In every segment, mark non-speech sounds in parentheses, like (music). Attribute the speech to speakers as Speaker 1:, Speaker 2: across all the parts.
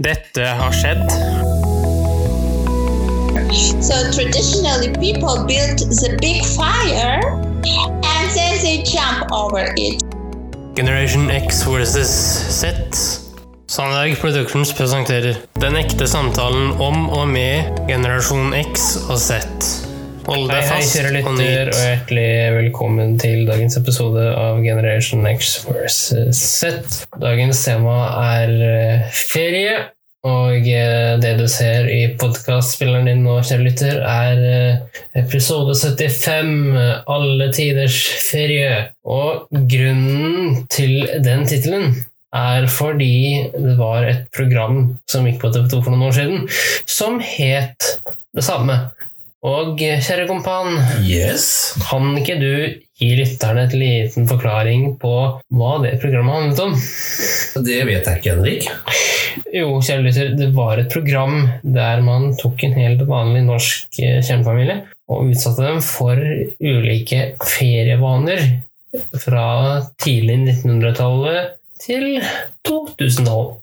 Speaker 1: Dette har skjedd.
Speaker 2: So traditionally, people build the big fire and then they jump over it.
Speaker 1: Generation X versus Z. Sandberg Productions presenterer Den ekte samtalen om og med generasjon X og Z. Hold
Speaker 3: Hei,
Speaker 1: deg
Speaker 3: hei,
Speaker 1: fast
Speaker 3: kjære
Speaker 1: og
Speaker 3: lytter,
Speaker 1: nyt.
Speaker 3: og hjertelig velkommen til dagens episode av Generation X vs. Z. Dagens tema er eh, ferie, og eh, det du ser i podkastspilleren din nå, kjære lytter, er eh, episode 75, eh, Alle tiders ferie. Og grunnen til den tittelen er fordi det var et program som gikk på TV2 for noen år siden, som het det samme. Og eh, kjære kompan,
Speaker 4: Yes.
Speaker 3: kan ikke du gi lytterne et liten forklaring på hva det programmet handlet om?
Speaker 4: Det vet jeg ikke, Henrik.
Speaker 3: Jo, kjære lytter, det var et program der man tok en helt vanlig norsk eh, kjernefamilie og utsatte dem for ulike ferievaner fra tidlig 1900-tallet til 2000-tallet.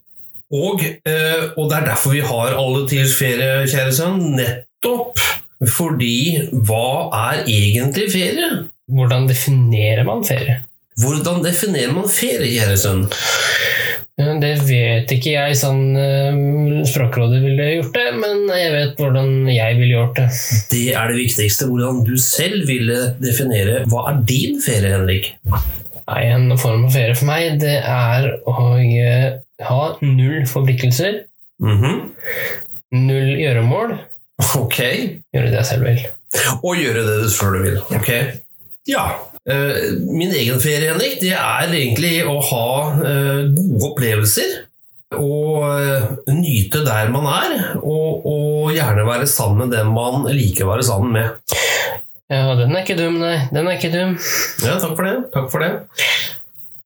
Speaker 4: Og, eh, og det er derfor vi har alle tiders ferie, kjære sønn. Nettopp fordi hva er egentlig ferie?
Speaker 3: Hvordan definerer man ferie?
Speaker 4: Hvordan definerer man ferie, kjære sønn?
Speaker 3: Eh, Det vet ikke jeg, sånn eh, Språkrådet ville gjort det, men jeg vet hvordan jeg ville gjort det.
Speaker 4: Det er det viktigste. Hvordan du selv ville definere hva er din ferie, Henrik?
Speaker 3: Nei, en form for ferie for meg, det er å eh, ha null forpliktelser,
Speaker 4: Mhm.
Speaker 3: null gjøremål,
Speaker 4: Ok.
Speaker 3: gjøre det jeg selv vil.
Speaker 4: Og gjøre det du selv vil. Ok. Ja. Eh, Min egen ferie, Henrik, det er egentlig å ha eh, gode opplevelser. Og eh, nyte der man er, og, og gjerne være sammen med den man liker å være sammen med.
Speaker 3: Ja, den er ikke dum, nei. Den er ikke dum.
Speaker 4: Ja, takk for det. Takk for det.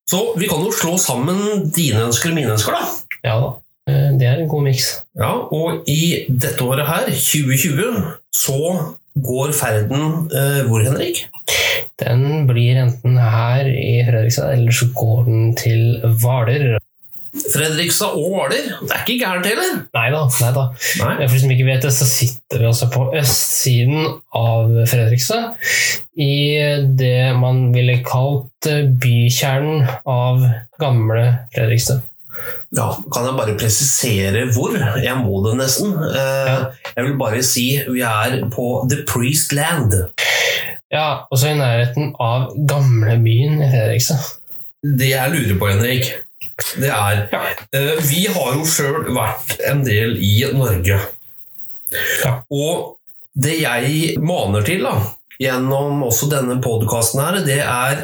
Speaker 4: Så vi kan jo slå sammen dine ønsker og mine ønsker, da.
Speaker 3: Ja da. eh, Det er en god miks.
Speaker 4: Ja, og i dette året her, 2020, så går ferden eh, hvor, Henrik?
Speaker 3: Den blir enten her i Fredrikstad, eller så går den til Hvaler.
Speaker 4: Fredrikstad og Hvaler. Det er ikke gærent heller.
Speaker 3: Nei da, nei da.
Speaker 4: Nei.
Speaker 3: For de som ikke vet det, så sitter vi altså på østsiden av Fredrikstad. I det man ville kalt eh, bykjernen av gamle Fredrikstad.
Speaker 4: Ja, kan jeg bare presisere hvor? Jeg må det nesten. Eh,
Speaker 3: Ja.
Speaker 4: Jeg vil bare si vi er på The Priest Land.
Speaker 3: Ja, og så i nærheten av gamlebyen i Fredrikstad.
Speaker 4: Det jeg lurer på, Henrik, det er
Speaker 3: Ja.
Speaker 4: eh, Vi har jo sjøl vært en del i Norge.
Speaker 3: Ja.
Speaker 4: Og det jeg maner til da, gjennom også denne podkasten her, det er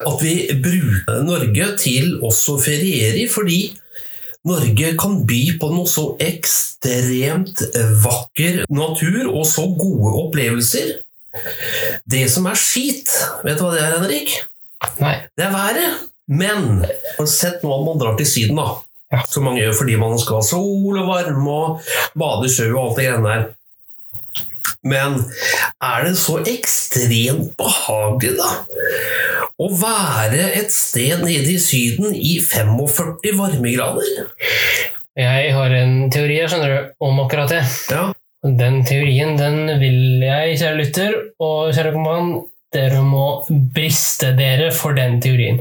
Speaker 4: at vi bruker Norge til også å feriere i, fordi Norge kan by på noe så ekstremt vakker natur og så gode opplevelser. Det som er skit, vet du hva det er, Henrik?
Speaker 3: Nei.
Speaker 4: Det er været. Men sett nå at man drar til Syden, da.
Speaker 3: Ja.
Speaker 4: Som man gjør fordi man skal ha sol og varme og bade i sjø og alt det greiene der. Men er det så ekstremt behagelig, da? Å være et sted nede i Syden i 45 varmegrader?
Speaker 3: Jeg har en teori her, skjønner du, om akkurat det.
Speaker 4: Ja.
Speaker 3: Den teorien den vil jeg, kjære lytter og kjære kompan, dere må briste dere for den teorien.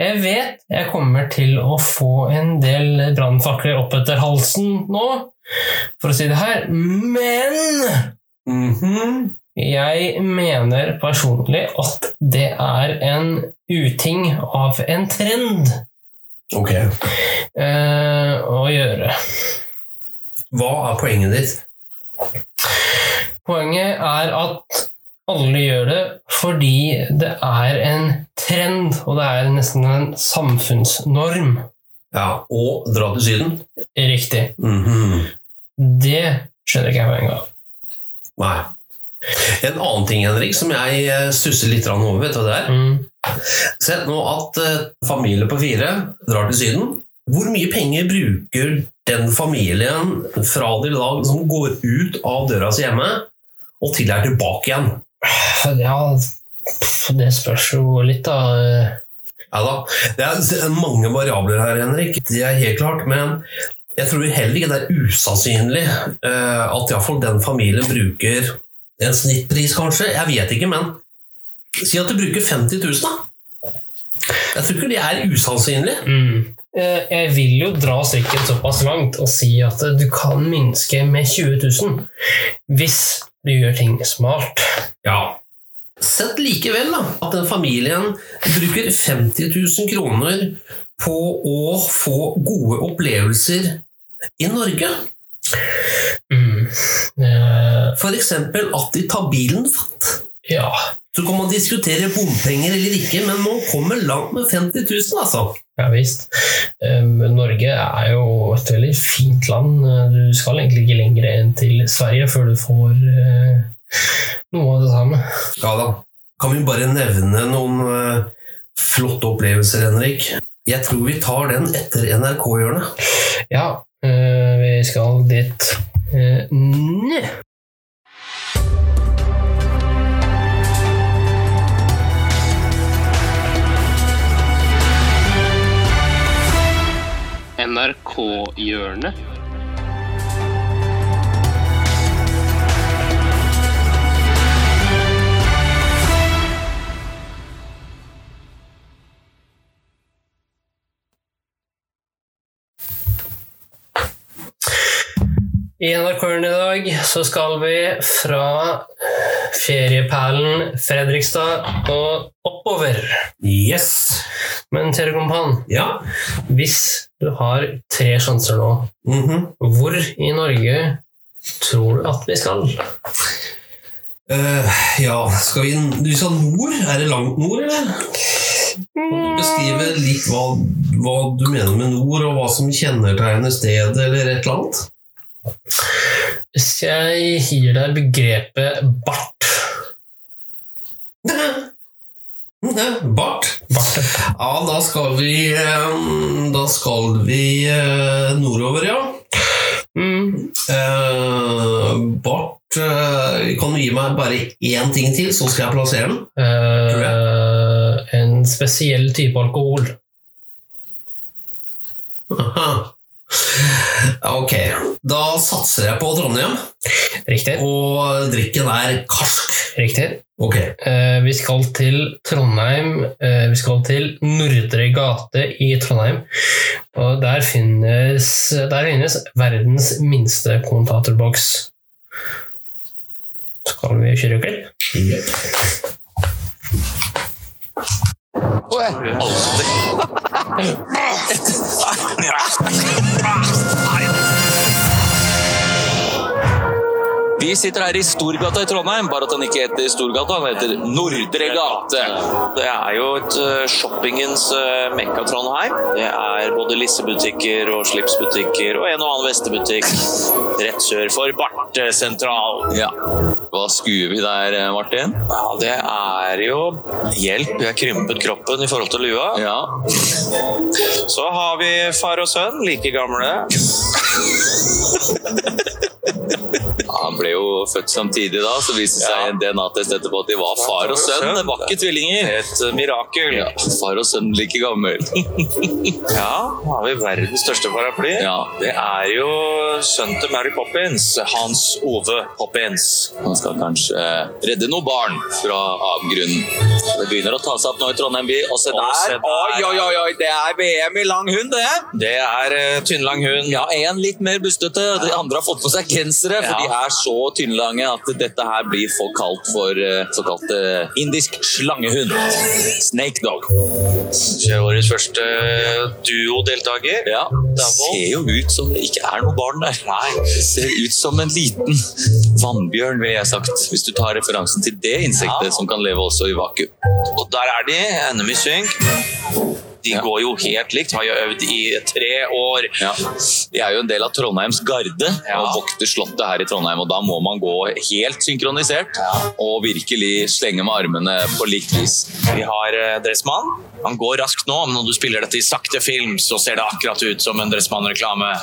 Speaker 3: Jeg vet jeg kommer til å få en del brannfakler opp etter halsen nå, for å si det her, men
Speaker 4: Mhm.
Speaker 3: Jeg mener personlig at det er en uting av en trend
Speaker 4: Ok.
Speaker 3: eh, å gjøre.
Speaker 4: Hva er poenget ditt?
Speaker 3: Poenget er at alle gjør det fordi det er en trend, og det er nesten en samfunnsnorm.
Speaker 4: Ja, Å dra til Syden?
Speaker 3: Riktig.
Speaker 4: Mhm.
Speaker 3: Det skjønner ikke jeg poenget av.
Speaker 4: Nei. En annen ting, Henrik, som jeg eh, stusser litt grann over, vet du hva det er?
Speaker 3: Mm.
Speaker 4: Sett nå at eh, familie på fire drar til Syden. Hvor mye penger bruker den familien fra de da som går ut av døra si hjemme, og til de er tilbake igjen?
Speaker 3: Ja, pff, det spørs jo litt, da.
Speaker 4: Ja da, det er s- mange variabler her, Henrik. Det er helt klart. Men Jeg tror heller ikke det er usannsynlig eh, at iallfall den familien bruker en snittpris, kanskje. Jeg vet ikke, men si at du bruker 50 000, da. Jeg tror ikke det er usannsynlig.
Speaker 3: Mm. Eh, Jeg vil jo dra strikken såpass langt og si at eh, du kan minske med 20 000 hvis du gjør ting smart.
Speaker 4: Ja. Sett likevel da, at den familien bruker 50 000 kroner på å få gode opplevelser i Norge.
Speaker 3: Mm. Eh,
Speaker 4: F.eks. at de tar bilen fatt.
Speaker 3: Ja.
Speaker 4: Så kan man diskutere bompenger eller ikke, men man kommer langt med 50 000, altså.
Speaker 3: Ja visst. Eh, men Norge er jo et veldig fint land. Eh, Du skal egentlig ikke lenger enn til Sverige før du får eh, noe av det samme.
Speaker 4: Ja da. Kan vi bare nevne noen eh, flotte opplevelser, Henrik? Jeg tror vi tar den etter NRK-hjørnet.
Speaker 3: Ja, eh, vi skal dit eh, nå.
Speaker 5: NRK-hjørnet.
Speaker 3: I NRK-en i dag så skal vi fra ferieperlen Fredrikstad og oppover.
Speaker 4: Yes!
Speaker 3: Men Terje Kompan,
Speaker 4: Ja.
Speaker 3: hvis du har tre sjanser nå,
Speaker 4: Mhm.
Speaker 3: hvor i Norge tror du at vi skal?
Speaker 4: Eh, ja, skal vi Du sa nord? Er det langt nord, eller? Kan du beskrive litt hva, hva du mener med nord, og hva som kjennetegner stedet, eller et eller annet?
Speaker 3: Hvis jeg gir deg begrepet bart
Speaker 4: (laughs) Bart. Ja, da skal vi eh, Da skal vi eh, nordover, ja.
Speaker 3: mm.
Speaker 4: Eh, Bart, eh, kan du gi meg bare én ting til, så skal jeg plassere den? (laughs)
Speaker 3: eh, En spesiell type alkohol.
Speaker 4: Aha. Ok, da satser jeg på Trondheim,
Speaker 3: Riktig.
Speaker 4: og drikken er karsk.
Speaker 3: Riktig.
Speaker 4: Ok.
Speaker 3: Eh, vi skal til Trondheim. Eh, vi skal til Nordre gate i Trondheim. Og der finnes, der finnes verdens minste kommentatorboks. Skal vi kjøre klipp?
Speaker 6: Vi sitter her i Storgata i Trondheim, bare at den ikke heter Storgata, den heter Nordre gate. Det er jo et eh, shoppingens eh, mekka Trondheim. Det er både lissebutikker og slipsbutikker og en og annen vestebutikk rett sør for Barte sentral. Ja. Hva skuer vi der,
Speaker 7: eh,
Speaker 6: Martin? Ja, Det er jo hjelp. Vi har krympet kroppen i forhold til lua. Så har vi far og sønn, like gamle.
Speaker 7: Han ble jo født samtidig da, så viste det seg
Speaker 6: Ja.
Speaker 7: en DNA-test etterpå at de var far og sønn. Det var ikke tvillinger.
Speaker 6: Et eh, mirakel.
Speaker 7: Ja, far og sønn like gammel.
Speaker 6: Ja, da har vi verdens største paraply.
Speaker 7: Ja.
Speaker 6: Det er jo sønnen til Mary Poppins, Hans Ove Poppins.
Speaker 7: Han skal kanskje eh, redde noen barn fra avgrunnen. Det begynner å ta seg opp nå i Trondheim by. Og se
Speaker 6: Og se
Speaker 7: der!
Speaker 6: der.
Speaker 7: Oi, oi, oi, oi, det er VM i lang hund, det!
Speaker 6: Det er eh, tynnlang hund.
Speaker 7: Ja, én litt mer bustete. De andre har fått på seg gensere, for
Speaker 6: Ja.
Speaker 7: de er så tynnlange at dette her blir folk kalt for eh, såkalt eh, indisk slangehund. Snake dog.
Speaker 6: Det er Årets første eh, duodeltaker.
Speaker 7: Ja, det ser jo ut som det ikke er noe barn der. Nei. Ser ut som en liten vannbjørn, ville jeg sagt. Hvis du tar referansen til det insektet
Speaker 6: Ja.
Speaker 7: som kan leve også i vakuum.
Speaker 6: Og der er de, Enemy Sync. De går jo helt likt, har jo øvd i tre år.
Speaker 7: Ja. De er jo en del av Trondheims garde
Speaker 6: Ja.
Speaker 7: og vokter slottet her i Trondheim. Og da må man gå helt synkronisert og virkelig slenge med armene på likt vis.
Speaker 6: Vi har eh, dressmann. Han går raskt nå, men når du spiller dette i sakte film, så ser det akkurat ut som en dressmann-reklame.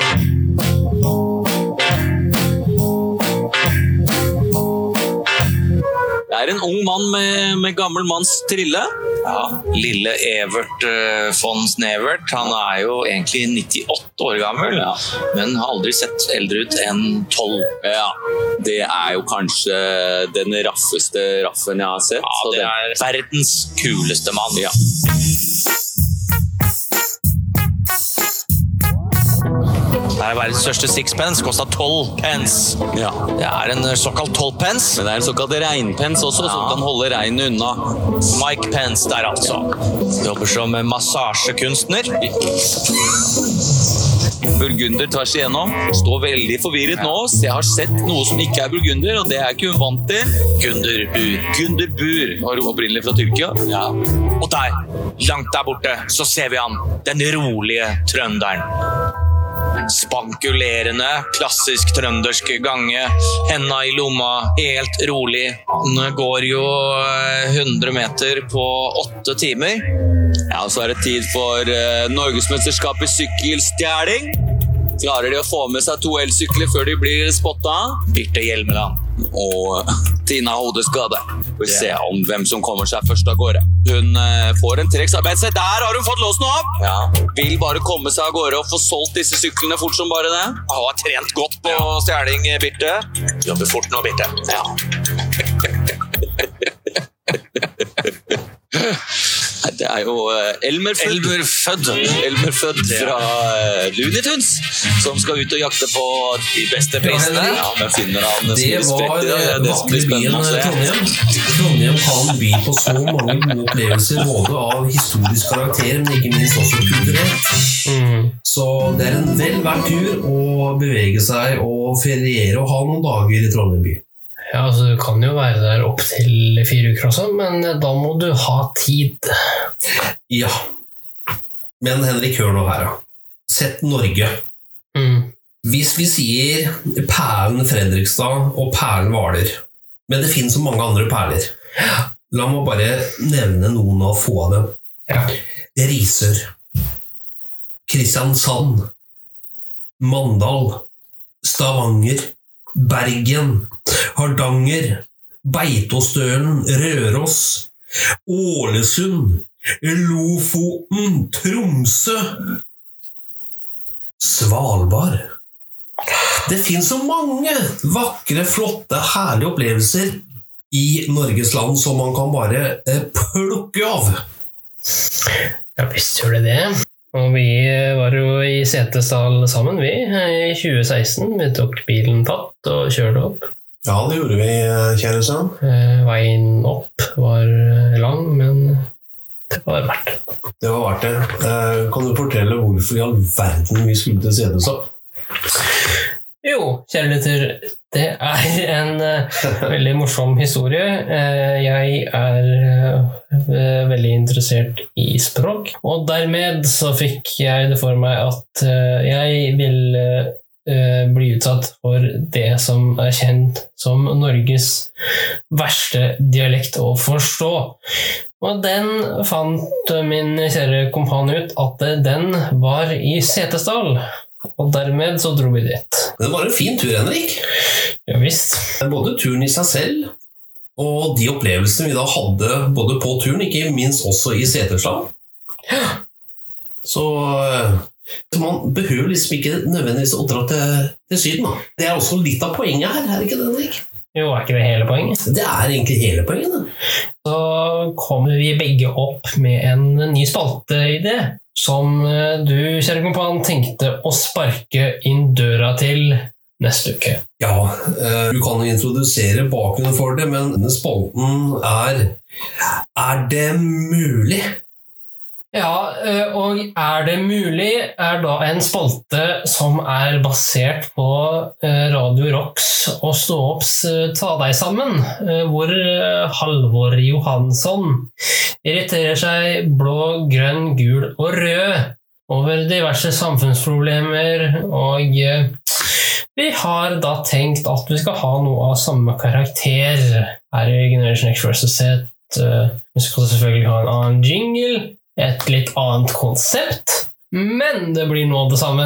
Speaker 7: Det er en ung mann med, med gammel manns trille.
Speaker 6: eh, Ja, lille Evert eh, von Snevert, han er jo egentlig 98
Speaker 7: åtte år gammel, men har aldri sett eldre ut enn tolv.
Speaker 6: Ja,
Speaker 7: Det er jo kanskje den raffeste raffen jeg har sett.
Speaker 6: ja
Speaker 7: så
Speaker 6: det
Speaker 7: den-
Speaker 6: er verdens kuleste mann.
Speaker 7: Ja.
Speaker 6: Det er verdens største sixpence, kosta tolv pence.
Speaker 7: ja.
Speaker 6: Det er en eh, såkalt tolvpence.
Speaker 7: Men det er en såkalt regnpens også, som
Speaker 6: Ja.
Speaker 7: kan holde regnet unna.
Speaker 6: Mike Pence der, altså. Jobber som eh, massasjekunstner.
Speaker 7: Burgunder tvers igjennom. Står veldig forvirret nå. Så jeg har sett noe som ikke er burgunder, og det er ikke hun vant til.
Speaker 6: Gunder Bur.
Speaker 7: Gunder Bur var opprinnelig fra Tyrkia.
Speaker 6: Og der, langt der borte, så ser vi han. Den rolige trønderen. Spankulerende, klassisk trøndersk gange. Henda i lomma, helt rolig. Han går jo eh, 100 meter på åtte timer.
Speaker 7: Ja, og så er det tid for eh, Norgesmesterskapet i sykkelstjeling. Klarer de å få med seg to elsykler før de blir spotta?
Speaker 6: Birte Hjelmeland.
Speaker 7: Og Tina har hodeskade. Vi får se om hvem som kommer seg først av gårde. Hun eh, får en treksarbeid. Se, der har hun fått låsen opp! Vil bare komme seg av gårde og få solgt disse syklene fort som bare det.
Speaker 6: Han har trent godt på stjeling, Birte. Jobber fort nå, Birte. Ja.
Speaker 7: Nei, Det er jo eh, Elmer Fudd.
Speaker 6: Elmer Fødd.
Speaker 7: Elmer Fudd fra eh, Looney Tunes, som skal ut og jakte på de beste prisene.
Speaker 4: Henrik.
Speaker 7: Ja, men finner han
Speaker 4: Det
Speaker 7: store
Speaker 4: var
Speaker 7: sprekker,
Speaker 4: eh,
Speaker 7: det er det som blir eh,
Speaker 4: vakrebyen
Speaker 7: spennende å se.
Speaker 4: Trondheim. eh, Trondheim kan by på så mange gode opplevelser, både av historisk karakter, men ikke minst også kulturelt.
Speaker 3: Mm.
Speaker 4: Så det er en vel verdt tur å bevege seg og feriere og ha noen dager i Trondheim by.
Speaker 3: Ja, altså Du kan jo være der opptil fire uker også, men da må du ha tid.
Speaker 4: Ja. Men Henrik, hør nå her, da. Sett Norge.
Speaker 3: Mm.
Speaker 4: Hvis vi sier perlen Fredrikstad og perlen Hvaler Men det finnes så mange andre perler. La meg bare nevne noen av få av dem.
Speaker 3: Ja.
Speaker 4: Risør. Kristiansand. Mandal. Stavanger. Bergen. Hardanger. Beitostølen. Røros. Ålesund. Lofoten. Tromsø. Svalbard. Det finnes så mange vakre, flotte, herlige opplevelser i Norges land som man kan bare eh, plukke av.
Speaker 3: ja visst gjør det det. Og vi eh, var jo i Setesdal sammen, vi, i 2016. Vi tok bilen fatt og kjørte opp.
Speaker 4: Ja, det gjorde vi, kjære sønn.
Speaker 3: Eh, Veien opp var eh, lang, men det var verdt det.
Speaker 4: Det var verdt det. Eh, Kan du fortelle hvorfor i all verden vi skulle til (laughs) Sedestad?
Speaker 3: Jo, kjære lytter, det er en eh, veldig morsom historie. Eh, jeg er eh, veldig interessert i språk, og dermed så fikk jeg det for meg at eh, jeg ville eh, bli utsatt for det som er kjent som Norges verste dialekt å forstå. Og den fant min kjære kompan ut at den var i Setesdal, og dermed så dro vi dit.
Speaker 4: Det var en fin tur, Henrik.
Speaker 3: Ja visst.
Speaker 4: Både turen i seg selv og de opplevelsene vi da hadde både på turen, ikke minst også i Setersland. Så eh, så man behøver liksom ikke nødvendigvis å dra til, til Syden. Da. Det er også litt av poenget her, er det ikke det, Henrik?
Speaker 3: Jo, er ikke det hele poenget?
Speaker 4: Det er egentlig hele poenget. Det.
Speaker 3: Så kommer vi begge opp med en ny spalteidé. Som eh, du, kjære kompan, tenkte å sparke inn døra til neste uke.
Speaker 4: Ja, eh, du kan jo introdusere bakgrunnen for det, men denne spalten er Er det mulig?
Speaker 3: Ja, eh, og Er det mulig? er da en spalte som er basert på eh, Radio Rocks og Stå opps eh, Ta deg sammen, eh, hvor eh, Halvor Johansson irriterer seg blå, grønn, gul og rød over diverse samfunnsproblemer, og eh, vi har da tenkt at vi skal ha noe av samme karakter her i Generation X vs. Z. Eh, Vi skal selvfølgelig ha en annen jingle et litt annet konsept, men det blir nå det samme.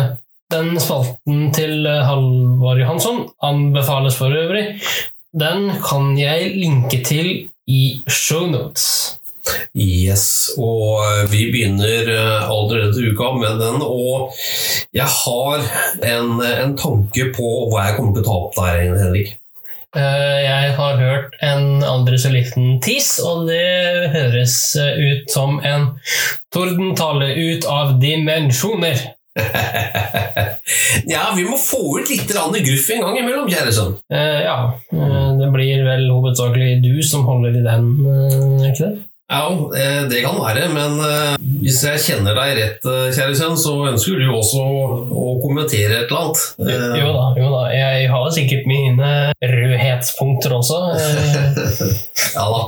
Speaker 3: Den spalten til eh, Halvor Johansson anbefales for øvrig. Den kan jeg linke til i shownotes.
Speaker 4: Yes, og eh, vi begynner eh, allerede uka med den, og jeg har en, eh, en tanke på hva jeg kommer til å ta opp der, Henrik. (laughs)
Speaker 3: Eh, Jeg har hørt en aldri så liten tiss, og det høres eh, ut som en tordentale ut av dimensjoner.
Speaker 4: ja, vi må få ut litt grann gruff en gang imellom, kjære sønn.
Speaker 3: Eh, ja, eh, det blir vel hovedsakelig du som holder i den, eh, ikke det?
Speaker 4: Ja, eh, det kan være, men eh, hvis jeg kjenner deg rett, eh, kjære sønn, så ønsker du jo også å, å kommentere et eller annet. Eh,
Speaker 3: Jo da, jo da. Jeg har sikkert mine rødhetspunkter også. Eh,
Speaker 4: Eh, Ja da.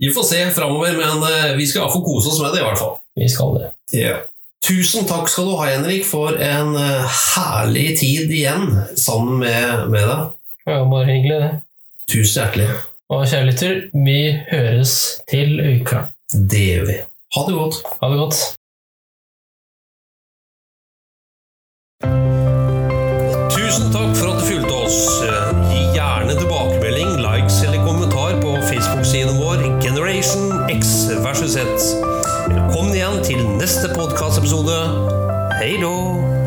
Speaker 4: Vi får se framover, men eh, vi skal iallfall kose oss med det, i hvert fall.
Speaker 3: Vi skal det.
Speaker 4: Ja. Tusen takk skal du ha, Henrik, for en eh, herlig tid igjen sammen med, med deg.
Speaker 3: Det var bare hyggelig, det.
Speaker 4: Tusen hjertelig.
Speaker 3: Og kjære lytter, vi høres til uka.
Speaker 4: Det gjør vi. Ha det godt.
Speaker 3: Ha det godt.
Speaker 4: Tusen takk for at du fulgte oss. Eh, Gi gjerne tilbakemelding, likes eller kommentar på Facebook-siden vår Generation X versus Z. Velkommen igjen til neste podkastepisode. Hei då!